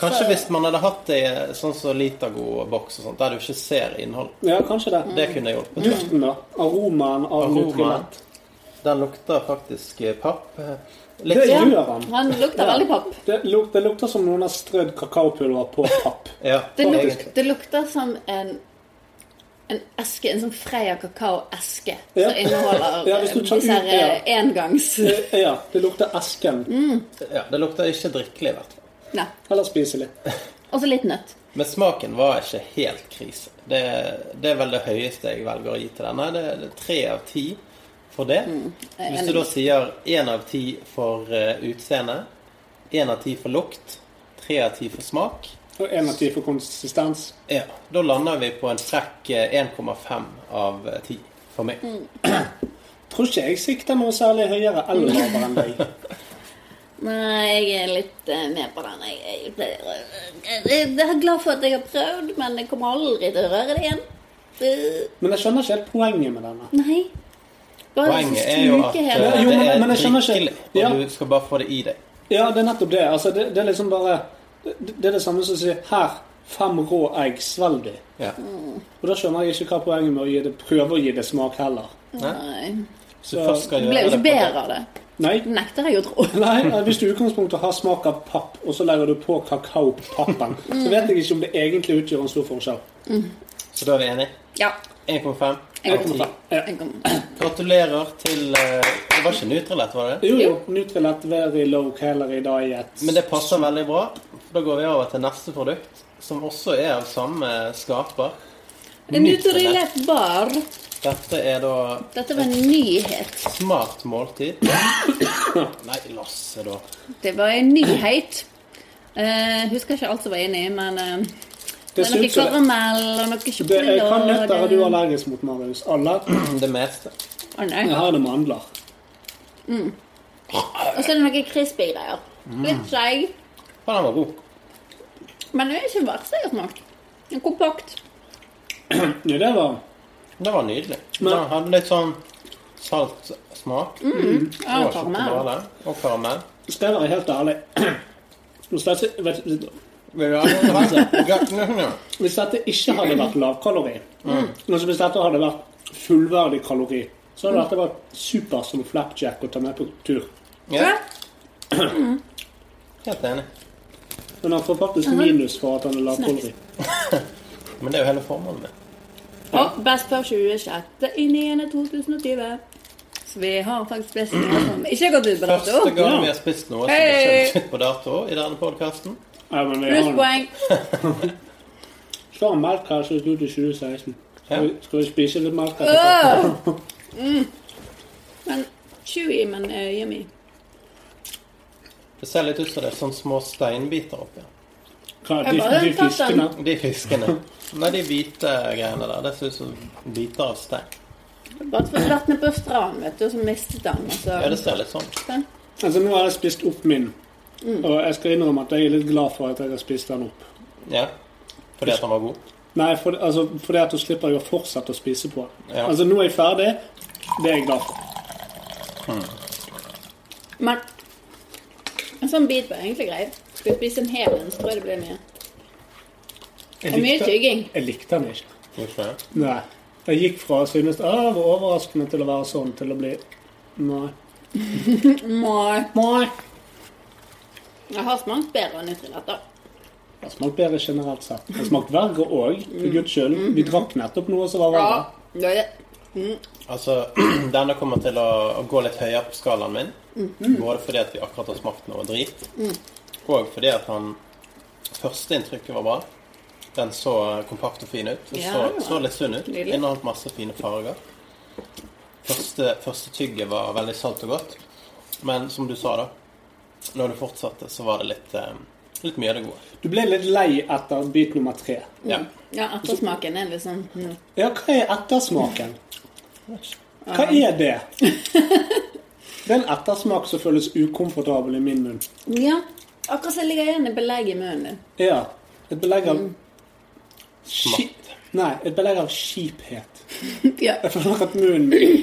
S5: Kanskje hvis man hadde hatt det i sånn som Litago-boks og sånt, der du ikke ser innhold.
S4: ja, kanskje det.
S3: Mm.
S5: Det kunne hjulpet. tror jeg.
S4: Duften, da. Aromaen av
S5: Aromaen.
S4: Nutrilett.
S5: Den lukter faktisk eh, papp. eh,
S4: Det
S5: Litt
S4: gjør han.
S3: Han lukter veldig papp.
S4: Det, luk, det lukter som noen har strødd kakaopulver på papp.
S5: Ja,
S3: Det, luk,
S5: egentlig.
S3: det lukter som en, en eske, en sånn Freia kakao-eske
S4: Ja.
S3: som inneholder
S4: Ja, hvis du tar ut-
S3: disse her eh, engangs...
S4: Ja, det lukter esken.
S5: ja, det lukter ikke drikkelig, i hvert fall.
S3: Nei.
S4: Eller spiselig.
S3: Og så litt nøtt.
S5: Men smaken var ikke helt krise. Det, det er vel det høyeste jeg velger å gi til denne. Det det er tre av ti for det.
S4: Mm.
S3: jeg er
S5: Hvis du da sier én av ti for eh, utseende, én av ti for lukt, tre av ti for smak,
S4: Og en av ti for konsistens.
S5: ja, da lander vi på en frekk eh, 1,5 av eh, 10 for meg.
S4: Mm. Tror ikke jeg sikter noe særlig høyere eller lavere enn deg.
S3: Nei, jeg er litt eh, med på den. Jeg, jeg, pleier å- jeg, jeg er glad for at jeg har prøvd, men jeg kommer aldri til å røre det igjen. Eh,
S4: Men jeg skjønner ikke helt poenget med denne.
S3: Nei. Hva er det som
S5: Poenget er jo at
S3: sluker hele
S5: eh,
S4: Jo, men-
S5: det er
S4: men jeg skjønner ikke.
S5: drikkelig,
S4: Ja.
S5: og du skal bare få det i deg.
S4: Ja, det er nettopp det. Altså, det, det er liksom bare det, det er det samme som å si Her, fem rå egg, svelg de.
S5: Ja.
S4: Og da skjønner jeg ikke hva poenget med å gi det, prøve å gi det smak heller. Mm.
S3: Nei.
S5: Så du først skal
S3: Det ble jo
S5: gjøre
S3: ikke
S5: det på-
S3: bedre av det.
S4: Nei.
S3: Det nekter jeg å tro.
S4: Nei, eh, Hvis du i utgangspunktet har smak av papp, og så legger du på kakaopappen,
S3: Mm.
S4: så vet jeg ikke om det egentlig utgjør en stor forskjell.
S5: Så da er vi enige?
S3: Ja.
S5: 1,5
S3: Jeg
S5: av
S3: kommer
S5: 10.
S3: fra.
S4: Ja.
S3: Jeg kommer.
S5: Gratulerer til eh, Det var ikke Nutrilett, var det?
S4: Jo, jo. Nutrilett very low calorie diet.
S5: Men det passer veldig bra. Da går vi over til neste produkt, som også er av samme skaper. Nutrilett.
S3: Nutrilett bar.
S5: Dette er da
S3: Dette var en nyhet.
S5: smart måltid. Nei, Lasse, da.
S3: Det var en nyhet. Eh, husker ikke alt som var inni, men eh, det er
S4: ser
S3: noe
S4: ut som det-
S3: karamell og noe
S4: det er,
S3: sjokolade
S4: hva nøtter er
S3: og
S4: du
S3: det-
S4: allergisk mot, Marius? Alle?
S5: Mm, Det meste.
S3: Å, nei.
S4: Jeg har det mandler.
S3: Og så er det noen crispy greier.
S4: Mm.
S3: Litt skjegg,
S5: Men den var god.
S3: men det er ikke verst jeg har smakt. Det er Kompakt.
S4: Ja, det var
S5: Det var nydelig.
S4: Men-
S5: Den hadde litt sånn salt smak.
S3: Mm, Ja,
S5: og
S3: karamell.
S5: sjokolade og karamell.
S4: Skal jeg være helt ærlig Hvis dette, vet-
S5: Vil du ha noe?
S4: hvis dette ikke hadde vært lavkalori,
S3: Mm.
S4: altså hvis dette hadde vært fullverdig kalori, så
S3: Mm.
S4: hadde dette vært super som flapjack å ta med på tur.
S5: Ja, helt enig.
S4: Men han får faktisk
S3: Mhm.
S4: minus for at han er lavkalori.
S5: Men det er jo hele formålet med
S3: Og Best på 26. i 9. 2020. Så vi har faktisk best som ikke har gått ut på
S5: Første
S3: dato.
S5: gang
S4: Ja.
S5: vi har spist noe som
S3: Hei!
S5: ikke er ut på dato i denne podkasten.
S4: Ja, men vi har
S3: Plusspoeng.
S4: Skal ha melk her, så er det ut i 2016. Skal vi, skal vi spise litt melk etterpå?
S3: Åh! Mm. Men chewy, men eh, yummy.
S5: Det ser litt ut som det er sånne små steinbiter oppi.
S4: Hva,
S3: Jeg
S4: de,
S3: bare
S4: de
S3: tatt den.
S4: fiskene?
S5: De fiskene. Nei, de hvite greiene der. Det ser ut som biter av stein.
S3: Bare at vi hadde vært nede på stranden, vet du, og så mistet han. Og så...
S5: Ja, det ser litt sånn ut.
S4: Altså, nå har jeg spist opp min.
S3: Mm.
S4: Og jeg skal innrømme at jeg er litt glad for at jeg har spist den opp.
S5: Ja. Fordi at den var god.
S4: Nei, for, altså, fordi at da slipper jeg å fortsette å spise på den.
S5: Ja.
S4: Altså, nå er jeg ferdig. Det er jeg glad for.
S3: Men en sånn bit var egentlig grei. Skal vi spise en hel en, så tror jeg det blir mye. Det er mye tygging.
S4: Jeg likte den ikke.
S5: Hvorfor det?
S4: Nei. Jeg gikk fra å synes «Å, det var overraskende til å være sånn, til å bli Nei.
S3: Nei.
S4: Nei.
S3: Jeg har smakt bedre Nutrilett, da.
S4: Det har smakt bedre generelt sett. Det har smakt verre òg, for guds skyld. Vi drakk nettopp noe som var
S3: Ja,
S4: verre.
S3: det er det.
S5: Altså, denne kommer til å, å gå litt høyere på skalaen min.
S3: Mhm.
S5: Både fordi at vi akkurat har smakt noe drit,
S3: Mm.
S5: og fordi at han Førsteinntrykket var bra. Den så kompakt og fin ut. Den
S3: Ja,
S5: så,
S3: det var.
S5: så litt sunn ut.
S3: Nydelig.
S5: Inneholdt masse fine farger. Første, første tygget var veldig salt og godt. Men som du sa, da Når du fortsatte, så var det litt, eh, litt mye av det gode.
S4: Du ble litt lei etter bit nummer tre.
S5: Ja.
S3: Ja, ettersmaken er litt sånn mm.
S4: Ja, hva er ettersmaken? Hva er det? Det er en ettersmak som føles ukomfortabel i min munn.
S3: Ja. Akkurat som det ligger igjen i belegg i munnen din.
S4: Ja. Et belegg av
S5: Smak.
S4: Skip- Nei, et belegg av kjiphet.
S3: Ja.
S4: Jeg føler at munnen min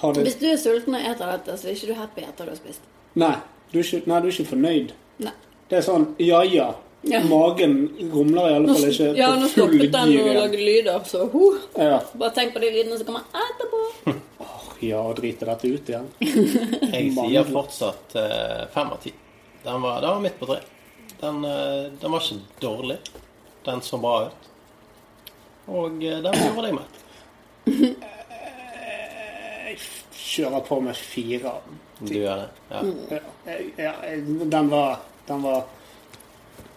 S4: har det
S3: Hvis du er sulten og eter dette, så er ikke du happy etter du har spist.
S4: Nei, du er ikke, nei, du er ikke fornøyd.
S3: Nei.
S4: Det er sånn ja ja.
S3: Ja.
S4: Magen rumler i alle fall ikke
S3: Ja, nå
S4: på full
S3: stoppet den
S4: gir
S3: å
S4: igjen.
S3: lage lyder, så huh.
S4: Ja,
S3: Bare tenk på de lydene som kommer etterpå.
S4: ja drite dette ut igjen.
S5: Jeg
S4: Mange.
S5: sier fortsatt eh, fem av ti. Den var, den var midt på tre. Den, eh, den var ikke dårlig. Den så bra ut. Og eh, den gjorde deg mett.
S4: Kjører på med fire.
S5: Du gjør det. Ja.
S4: Ja, ja, den var Den var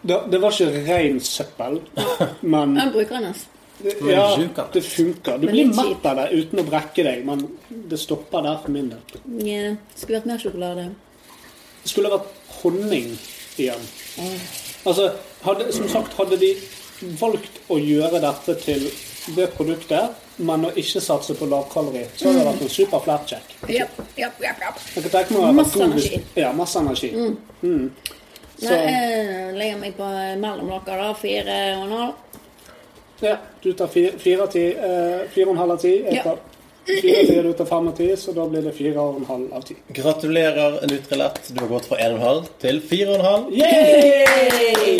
S4: det, det var ikke ren søppel, men
S3: Jeg bruker den, altså.
S4: ja,
S5: juker.
S4: det funker. Du
S3: Men
S4: blir
S3: litt
S4: mett av det uten å brekke deg, men det stopper der for min del.
S3: Ja, Skulle vært mer sjokolade.
S4: Det skulle vært honning igjen. Altså, hadde, som sagt, hadde de valgt å gjøre dette til det produktet, men å ikke satse på lavkalori, så hadde det vært en
S3: Mm.
S4: super flatcheck.
S3: Ja, ja, ja, ja.
S4: Jeg kan tenke meg at
S3: Masse
S4: god hvis-
S3: energi. Mm.
S4: Ja, masse energi.
S3: Nei, jeg legger meg på mellom dere, da. Fire og en halv.
S4: Ja, du tar fire, fire, av ti, eh, fire og en halv av ti. Jeg
S3: Ja.
S4: tar Fire tiere ut av fem av ti, så da blir det fire og en halv av ti.
S5: Gratulerer, Nutrilett. Du har gått fra 1,5 til 4,5.
S4: Yay!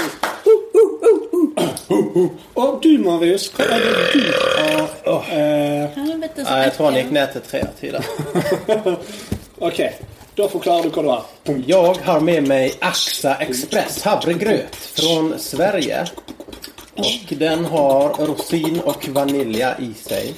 S4: Og du, Marius, hva er det du har eh,
S3: Helvete,
S5: Nei,
S3: så
S5: Jeg tror han gikk
S3: ekkelt.
S5: ned til 3 av 10 der.
S4: OK, da forklarer du hva du har. Punkt.
S5: Jag har med mig Assa Express havregröt från Sverige. Och den har rosin och vanilja i sig.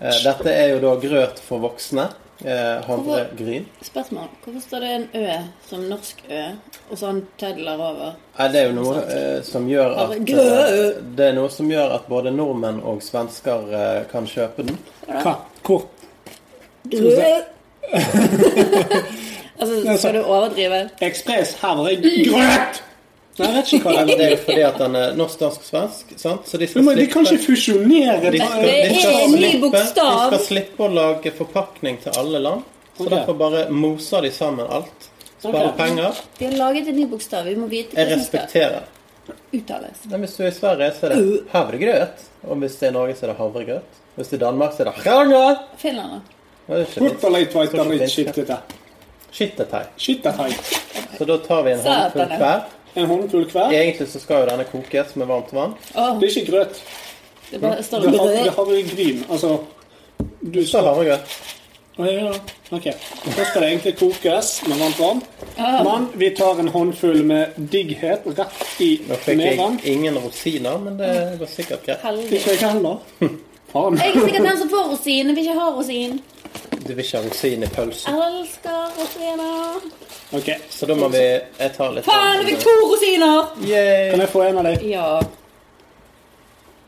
S5: Eh, Dette er jo da grøt for voksne. eh, Havregryn.
S3: Spørsmål. Hvorfor står det en Ø som norsk Ø, og så har han tødler over?
S5: Eh, Det er jo noe eh, som gjør at eh,
S3: Havregrøt.
S5: Det er noe som gjør at både nordmenn og svensker eh, kan kjøpe den.
S4: Hva? Hvor?
S3: Altså, skal du overdrive?
S4: Ekspress havregrøt! Nei, jeg vet ikke hva
S5: Men
S4: det er.
S5: det er jo fordi at den er norsk-dansk-svensk, sant? Så de skal
S4: Men de kan
S5: slippe
S4: ikke fusjonere
S5: De
S4: det.
S5: skal,
S3: Det
S5: de skal
S3: er en ny
S5: slippe-
S3: bokstav.
S5: De skal slippe å lage forpakning til alle land. Så
S4: Ok.
S5: derfor bare moser de sammen alt. Sparer
S4: Ok.
S5: penger.
S3: De har laget en ny bokstav. Vi må vite
S5: Jeg
S3: hva som skal
S5: respekterer.
S3: uttales.
S5: Men hvis du er i Sverige, så er det havregrøt. Og hvis det er i Norge, så er det havregrøt. Hvis det er i Danmark, så er det havregrøt.
S3: Finland, da?
S5: Det er ikke
S4: Bort og leit veit
S5: det er ikke
S4: shit dette.
S5: Skittetei.
S4: Shit er teit.
S5: Så da tar vi en håndfull
S3: Satan.
S5: hver.
S4: En håndfull hver.
S5: Egentlig så skal jo denne kokes med varmt vann.
S3: Åh,
S4: Det er ikke grøt.
S3: det bare står
S4: Det har, det
S3: brød.
S4: har vi gryn. Altså Du
S5: Så
S4: skal
S5: havregrøt.
S4: Å, ja. OK. Da skal det egentlig kokes med varmt vann. Men vi tar en håndfull med digghet rett i
S5: Nå fikk jeg
S4: meven.
S5: ingen rosiner, men det går sikkert greit.
S3: Heldig.
S4: Ikke jeg heller. Faen.
S3: Jeg er sikkert den som får rosin, jeg vil ikke ha rosin.
S5: Du vil ikke ha rosin i pølsen.
S3: Elsker rosiner.
S4: OK.
S5: Så da må vi Jeg tar litt
S3: Faen, jeg fikk to rosiner!
S5: Yay!
S4: Kan jeg få en av dem?
S3: Ja.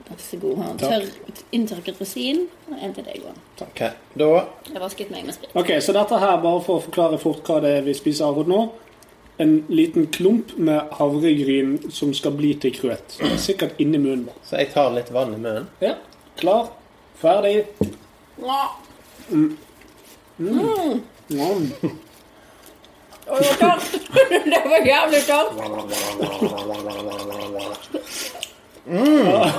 S3: Vær så god. Han tørr inntørket rosin. Og en til deg òg.
S5: Ok, da
S3: Jeg vasket meg med sprit.
S4: Ok, så dette her, bare for å forklare fort hva det er vi spiser akkurat nå. En liten klump med havregryn som skal bli til krøt. Sikkert inni munnen vår.
S5: Så jeg tar litt vann i munnen.
S4: Ja, klar, ferdig. Nom.
S3: Å, det var tørt. Det var jævlig tørt. Mm.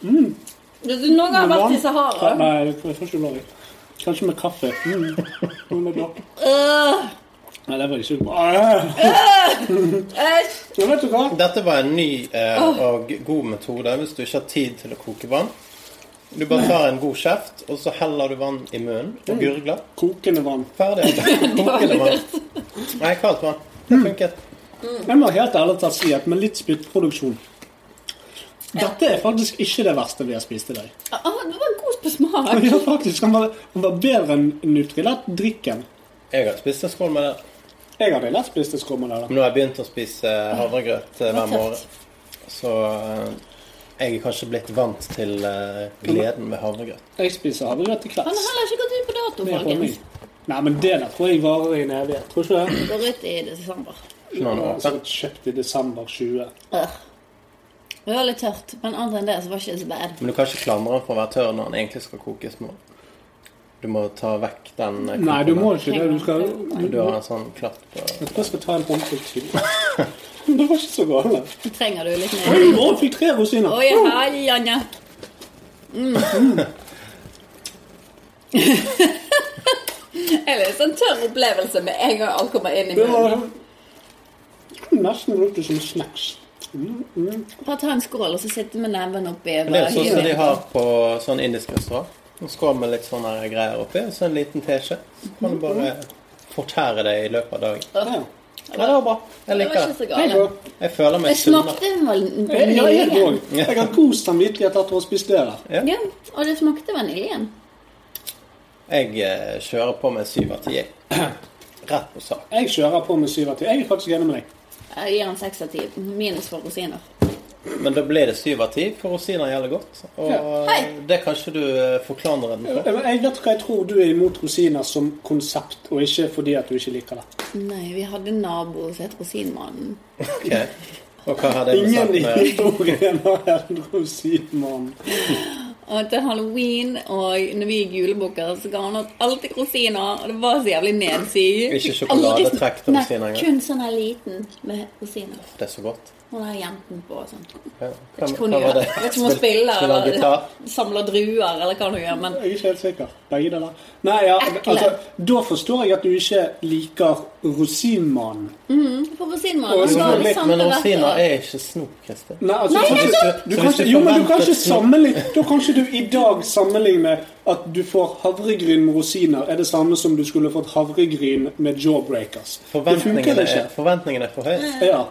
S3: Hvis du Mm. noen gang har vært i Sahara
S4: Nei, jeg får ikke lov. Kanskje med kaffe. Mm. Noe med blokk.
S3: Øh,
S4: Nei, det var ikke bra.
S3: Æsj!
S4: Men vet du hva?
S5: Dette var en ny eh, og god metode hvis du ikke har tid til å koke vann. Du bare tar en god kjeft, og så heller du vann i munnen og gurgler.
S4: Kokende vann.
S5: Ferdig. Kokende vann. Nei, kaldt vann. Det funket.
S4: Jeg må helt ærlig talt si at med litt spyttproduksjon Dette er faktisk ikke det verste vi har spist i dag.
S3: Å, Ah, det var god på smak.
S4: Ja, faktisk. Den var, den var bedre enn Nutrilett-drikken.
S5: Jeg har spist en skål med det.
S4: Jeg hadde lett spist det skummet der. da.
S5: Men nå har jeg begynt å spise eh, havregrøt eh, hver
S3: Hva tøft.
S5: morgen. Så eh, jeg er kanskje blitt vant til eh, gleden med havregrøt.
S4: Jeg spiser havregrøt til
S3: Han har
S4: kvelds.
S3: heller ikke gått ut på dato,
S4: Med honning.
S3: folkens.
S4: Nei, men det der tror jeg varer i en evighet. Tror ikke det?
S3: Går ut i desember.
S5: Ikke noe
S4: Jeg har
S5: annet.
S4: sikkert kjøpt i desember 20.
S3: Øh. Det var litt tørt, men annet enn det så var det ikke så bad.
S5: Men du kan ikke klandre han for å være tørr når han egentlig skal koke små. Du må ta vekk den eh,
S4: Nei, du
S5: klumpen.
S4: må ikke det. Du skal
S5: Men Du har en sånn klatt på
S4: Jeg tror jeg skal ta en håndfull til. Det var ikke så galt.
S3: Så trenger du litt mer.
S4: Oi, Å, fikk tre rosiner.
S3: Oi, hei, Anja. Mm. Det er litt sånn tørr opplevelse med en gang alt kommer inn i
S4: Det
S3: munnen.
S4: var nesten lukte som snacks. Mm,
S3: Bare ta en skål og så sitte med neven oppi.
S5: Men Det er
S3: bare
S5: jo sånn som de
S3: hive.
S5: har på sånn indisk restaurant. En skål med litt sånne her greier oppi, og så en liten teskje. Så kan du bare fortære det i løpet av dagen.
S4: Ja.
S5: Nei, det var bra. Jeg
S3: Det var
S5: liker
S3: ikke
S5: det.
S3: så galt.
S5: Jeg føler
S3: Det
S5: meg sunnere.
S3: smakte vaniljen.
S4: Ja, jeg òg. Jeg har god samvittighet etter å ha spist det der.
S3: Ja, og det smakte vaniljen.
S5: Jeg eh, kjører på med syv av ti. Rett på sak.
S4: Jeg kjører på med syv av ti. Jeg er faktisk enig med deg.
S3: Jeg gir den seks av ti. Minus for rosiner.
S5: Men da ble det syv av ti, for rosiner gjelder godt. Og
S3: Hei.
S5: det kan ikke du eh, forklare den for.
S4: Jeg jeg vet hva jeg tror du er imot rosiner som konsept, og ikke fordi at du ikke liker det.
S3: Nei, vi hadde en nabo som het Rosinmannen.
S5: Ok. Og hva har det med
S4: Ingen i
S5: saken å gjøre?
S4: historien har en rosinmann.
S3: Og til halloween og når vi gikk julebukker, så ga han oss alltid rosiner. Og det var så jævlig nedsig.
S5: Ikke sjokoladetrekk til rosiner
S3: Nei,
S5: engang.
S3: kun sånn her liten med rosiner.
S5: Det er så godt.
S3: Hun har gjemt den på og sånn. Vet
S5: Ja.
S3: ikke hva hun gjør. Vet ikke om hun
S5: Spil-
S3: spiller
S5: spiller gitar.
S3: eller samler druer eller hva hun gjør, men
S4: Jeg er ikke helt sikker. Begge deler. Nei, ja,
S3: Ekle.
S4: altså, da forstår jeg at du ikke liker rosinmannen.
S3: for
S4: Og
S3: rosinmannen
S4: så
S3: så
S4: er
S3: var
S4: det
S3: det
S4: litt-
S3: samme
S5: Men
S3: rett
S5: rosiner
S3: og-
S5: er ikke snop, Kristin.
S4: Nei, altså,
S3: Nei,
S4: du kan
S3: jeg
S4: ikke,
S3: tror-
S4: du
S5: Så
S4: kan
S5: hvis du
S4: ikke, jo, men du kan
S5: forventer
S4: ikke
S5: snop-
S4: sammenligne Da kan ikke du i dag sammenligne at du får havregryn med rosiner, er det samme som du skulle fått havregryn med jawbreakers. Det funker
S5: Forventningene
S4: ikke.
S5: er, forventningene er for høye.
S4: Ja.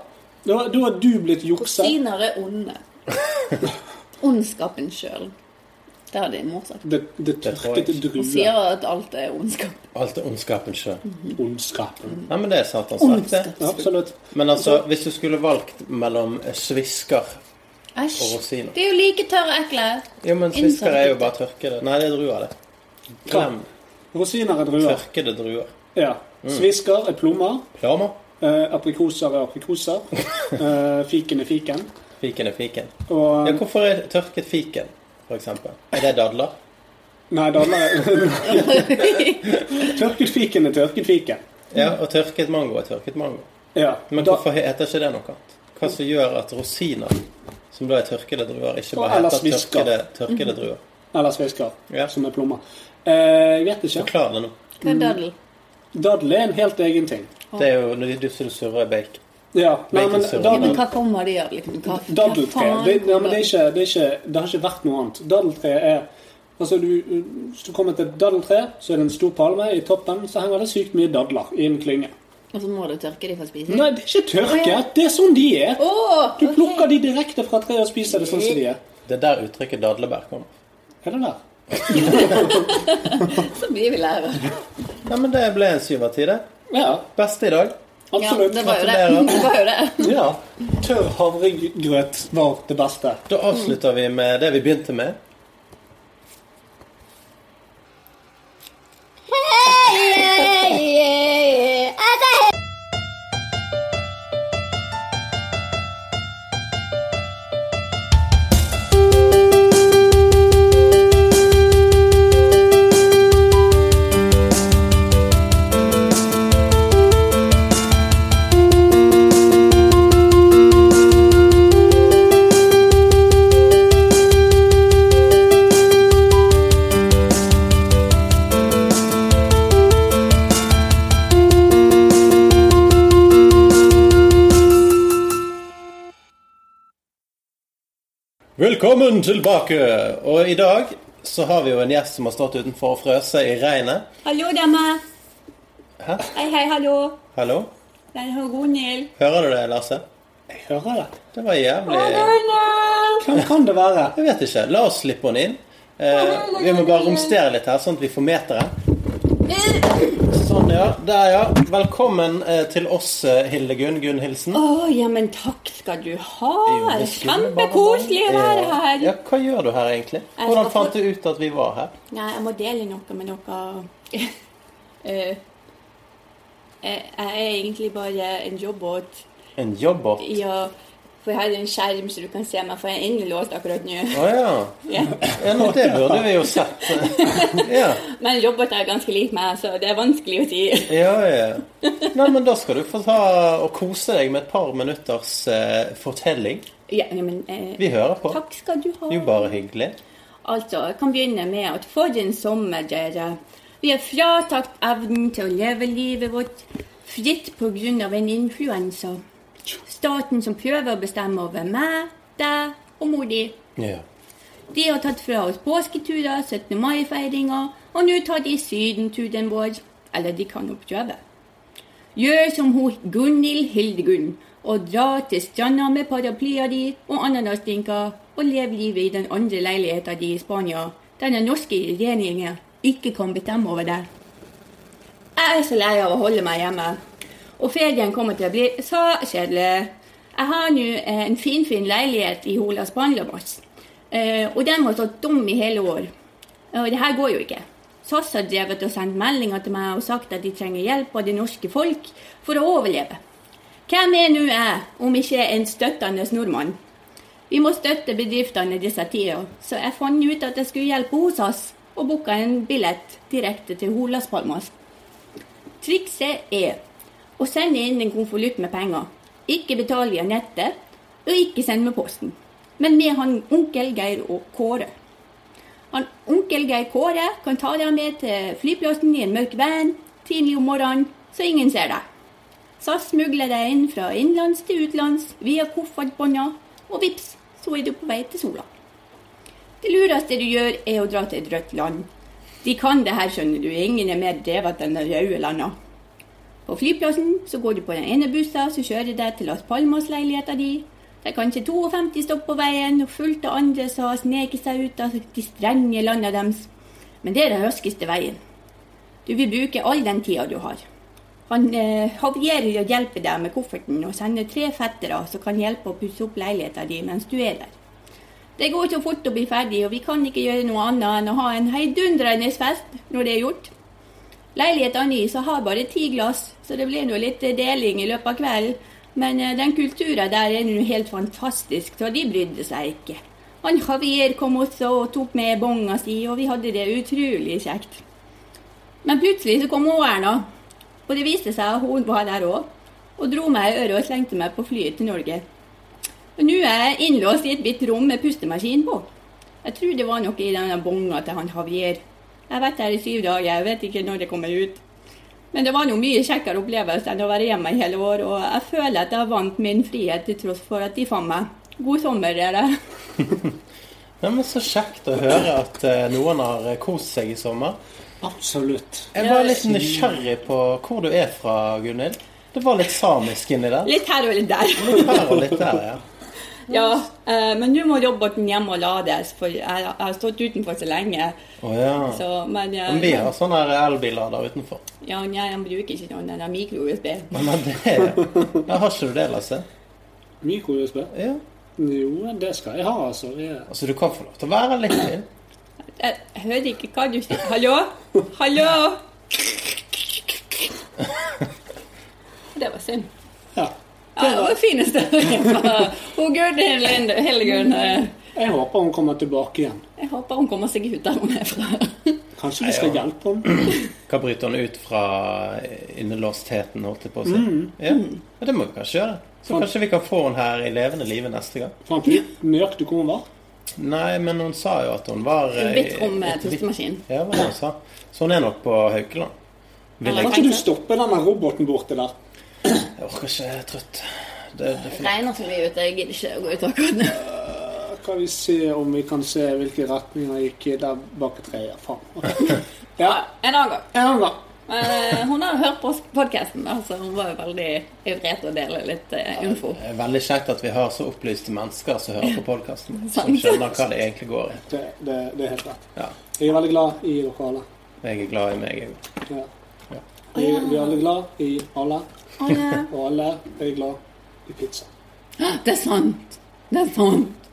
S4: Da, da har du blitt juksa.
S3: Rosiner er onde. Ondskapen sjøl. Det hadde din mor sagt.
S4: Det, det
S5: tror jeg
S4: tørkete
S3: Hun
S4: druer.
S3: sier at alt er ondskap.
S5: Alt er ondskapen sjøl.
S4: Ondskapen.
S5: Nei, men det er satans verk,
S3: Ondskap.
S5: det.
S4: Ja, absolutt.
S5: Men altså, hvis du skulle valgt mellom svisker Og
S3: Æsj.
S5: rosiner.
S3: De er jo like tørre og ekle.
S5: Jo, men svisker er jo bare tørkede. Nei, det er druer, det. Glem
S4: Rosiner er druer.
S5: tørkede druer.
S4: Ja.
S5: Mm.
S4: Svisker er plommer.
S5: Plommer.
S4: Eh, aprikoser er aprikoser. Eh, fiken er fiken.
S5: Fiken er fiken.
S4: Og
S5: Ja, hvorfor er tørket fiken, for eksempel? Er det dadler?
S4: Nei, dadler Tørket fiken er tørket fiken.
S5: Ja, og tørket mango er tørket mango.
S4: Ja. Mm.
S5: Men
S4: da-
S5: hvorfor heter ikke det noe annet? Hva som gjør at rosiner, som da er tørkede druer, ikke
S4: Og
S5: bare
S4: eller
S5: heter
S4: svisker.
S5: tørkede, tørkede druer?
S4: Eller svisker,
S5: Ja.
S4: som er plommer. Eh, jeg vet ikke.
S5: Forklar det nå.
S3: Hva er daddel?
S4: Dadel er en helt egen ting.
S5: Det er jo når du som surrer bake.
S4: Ja, nei, men
S5: Baconsyrup.
S3: Ja, men
S4: dadel
S3: hva kommer de av? Liksom? Hva, hva
S4: Daddeltre.
S3: faen
S4: Det, ja, men det,
S3: kommer-
S4: er ikke, det, er ikke, det har ikke vært noe annet. Daddeltre er Altså, du, Hvis du kommer til et daddeltre, så er det en stor palme. I toppen så henger det sykt mye dadler i en klynge.
S3: Og så må du tørke de for å spise dem?
S4: Nei, det er ikke
S3: Å, ja.
S4: tørke. Det er sånn de er.
S3: Åh,
S4: Du
S3: ok.
S4: plukker de direkte fra treet og spiser det sånn som de er.
S5: Det er der uttrykket dadlebær kommer.
S4: Er det der?
S3: Så mye vi lærer.
S5: Nei, men det ble en syv av ti, det.
S4: Ja,
S5: Beste i dag.
S3: Ja,
S4: absolutt.
S3: det var jo det.
S5: Gratulerer.
S3: det, var jo det.
S4: Ja. Tørr havregrøt var det beste.
S5: Da avslutter vi med det vi begynte med. Velkommen tilbake! Og i dag så har vi jo en gjest som har stått utenfor og frøse i regnet.
S3: Hallo, dama.
S5: Hæ?
S3: Hei, hei, hallo.
S5: Hallo?
S3: Det er Gunhild.
S5: Hører du det, Lasse?
S4: Jeg hører det.
S5: Det var jævlig
S4: Hvem kan det være?
S5: Jeg vet ikke. La oss slippe henne inn. Eh, vi må bare romstere litt her, sånn at vi får meteren. Sånn, ja. Der, ja. Velkommen eh, til oss, eh, Hildegunn Gunnhildsen.
S3: Å, ja, men takk skal du ha.
S5: Jo,
S3: Det
S5: det
S3: er
S5: skulle bare
S3: Kjempekoselig å være
S5: Ja.
S3: her.
S5: Ja, Hva gjør du her, egentlig?
S3: Jeg
S5: Hvordan
S3: skal få-
S5: fant du ut at vi var her?
S3: Nei, jeg må dele noe med dere. Eh, jeg jeg er egentlig bare en jobbåt.
S5: En jobber? Å
S3: Ja, for jeg har en skjerm, så du kan se meg, for jeg er innelåst akkurat nå.
S5: ja.
S3: Ja.
S5: ja. nå, Det burde vi jo sett. Ja.
S3: Men jobbet er ganske lik meg, så det er vanskelig å si.
S5: Ja, ja. Nei, men da skal du få ta og kose deg med et par minutters eh, fortelling.
S3: Ja, ja, men eh,
S5: Vi hører på.
S3: Takk skal du ha.
S5: Jo, bare hyggelig.
S3: Altså, jeg kan begynne med at for en sommer, dere. Vi er fratatt evnen til å leve livet vårt fritt pga. en influensa. Staten som prøver å bestemme over meg, deg og mor di.
S5: Ja.
S3: De har tatt fra oss påsketurer, 17. mai-feiringer, og nå tar de sydenturen vår. Eller de kan jo prøve. Gjør som hun Gunhild Hildegunn, og dra til stranda med paraplya di og ananasdrinker, og lev livet i den andre leiligheta di i Spania, der den norske regjeringen ikke kan bestemme over deg. Jeg er så lei av å holde meg hjemme, og ferien kommer til å bli så kjedelig. Jeg har nå eh, en finfin leilighet i Hola Spanlabass, eh, og den har stått dum i hele år. Og det her går jo ikke. SAS har drevet og sendt meldinger til meg og sagt at de trenger hjelp av det norske folk for å overleve. Hvem er nå jeg, om ikke en støttende nordmann? Vi må støtte bedriftene i disse tider, så jeg fant ut at jeg skulle hjelpe hos oss, og booka en billett direkte til Holas Palmas. Trikset er E. å sende inn en konvolutt med penger. Ikke betal via nettet, og ikke send med posten. Men med han onkel Geir og Kåre. Han, onkel Geir Kåre kan ta deg med til flyplassen i en mørk van tidlig om morgenen, så ingen ser deg. SAS smugler deg inn fra innlands til utlands via koffertbånda, og vips, så er du på vei til sola. Det lureste du gjør, er å dra til et rødt land. De kan det her, skjønner du. Ingen er mer drevet enn de røde landa. På flyplassen så går du på den ene bussen som kjører deg til Las Palmas-leiligheta di. Det er kanskje 52 stopp på veien, og fullt av andre som har sneket seg ut av de strenge landa deres. Men det er den raskeste veien. Du vil bruke all den tida du har. Han eh, Javier hjelper deg med kofferten og sender tre fettere som kan hjelpe å pusse opp leiligheta di mens du er der. Det går så fort å bli ferdig, og vi kan ikke gjøre noe annet enn å ha en heidundrende fest når det er gjort. Leiligheta mi så har bare ti glass, så det blir nå litt deling i løpet av kvelden. Men eh, den kulturen der er nå helt fantastisk, så de brydde seg ikke. Han Javier kom også og tok med bonga si, og vi hadde det utrolig kjekt. Men plutselig så kom hun Erna, og det viste seg at hun var der òg. Og dro meg i øret og slengte meg på flyet til Norge. Og nå er jeg innlåst i et bitt rom med pustemaskin på. Jeg tror det var noe i denne bonga til han Javier. Jeg har vært her i syv dager, jeg vet ikke når det kommer ut. Men det var nå mye kjekkere opplevelse enn å være hjemme i hele år, og jeg føler at jeg vant min frihet til tross for at de fant meg. God sommer, dere.
S5: Ja, men Så kjekt å høre at eh, noen har eh, kost seg i sommer.
S4: Absolutt.
S5: Jeg var litt nysgjerrig på hvor du er fra, Gunhild. Det var litt samisk inni der.
S6: Litt her og litt der.
S5: Litt her og litt der, ja.
S6: Ja, eh, men nå må roboten hjem og lades, for jeg, jeg har stått utenfor så lenge.
S5: Å ja.
S6: Så, men eh,
S5: Men vi har sånne her elbiler der utenfor.
S6: ja, nei, jeg bruker ikke noen av mikro-USB.
S5: Men det er Der har ikke du det, Lasse?
S4: Mikro-USB?
S5: Ja.
S4: Jo, det skal jeg ha, altså. Jeg-
S5: Altså, du kan få lov til å være litt til.
S6: Jeg hører Eh, ikke hva du sier. Hallo? Hallo? Det var synd.
S4: Ja.
S6: Ja, det var det fineste hun Gørd Hellegørn. eh,
S4: Jeg håper hun kommer tilbake igjen.
S6: Jeg håper hun kommer seg ut der hun er fra.
S4: Kanskje vi skal hjelpe henne?
S5: Kan bryte han ut fra innelåstheten, holdt jeg på å si. Ja, men det må vi kanskje gjøre. Så kanskje vi kan få henne her i levende live neste gang.
S4: Fant du ut nøyaktig hvor hun var?
S5: Nei, men hun sa jo at hun var eh,
S6: Et hvitt rom med
S5: et hvitt-
S6: pustemaskin.
S5: Ja, hva var det hun sa. Så hun er nok på Haukeland. Vil jeg,
S4: Kan ikke du stoppe denne roboten borte der?
S5: jeg orker ikke, jeg er trøtt. Det, det er for-
S6: Regner så mye ute, jeg gidder ikke å gå ut akkurat nå.
S4: Kan vi se om vi kan se hvilke retninger gikk der bak treet? Faen. Ok. Ja,
S6: En annen gang.
S4: en gang.
S6: Men eh, hun har hørt på podkasten, så hun var jo veldig ivrig etter å dele litt eh, info.
S5: det er veldig kjekt at vi har så opplyste mennesker som hører på podkasten, som
S6: Sant.
S5: skjønner hva det egentlig går i.
S4: Det, det, det er helt rett.
S5: Ja,
S4: Jeg er veldig glad i dere alle.
S5: jeg er glad i meg, jeg òg.
S4: Ja. Vi, vi er alle glad i alle, og alle er glad i pizza.
S6: Det er sant! Det er sant!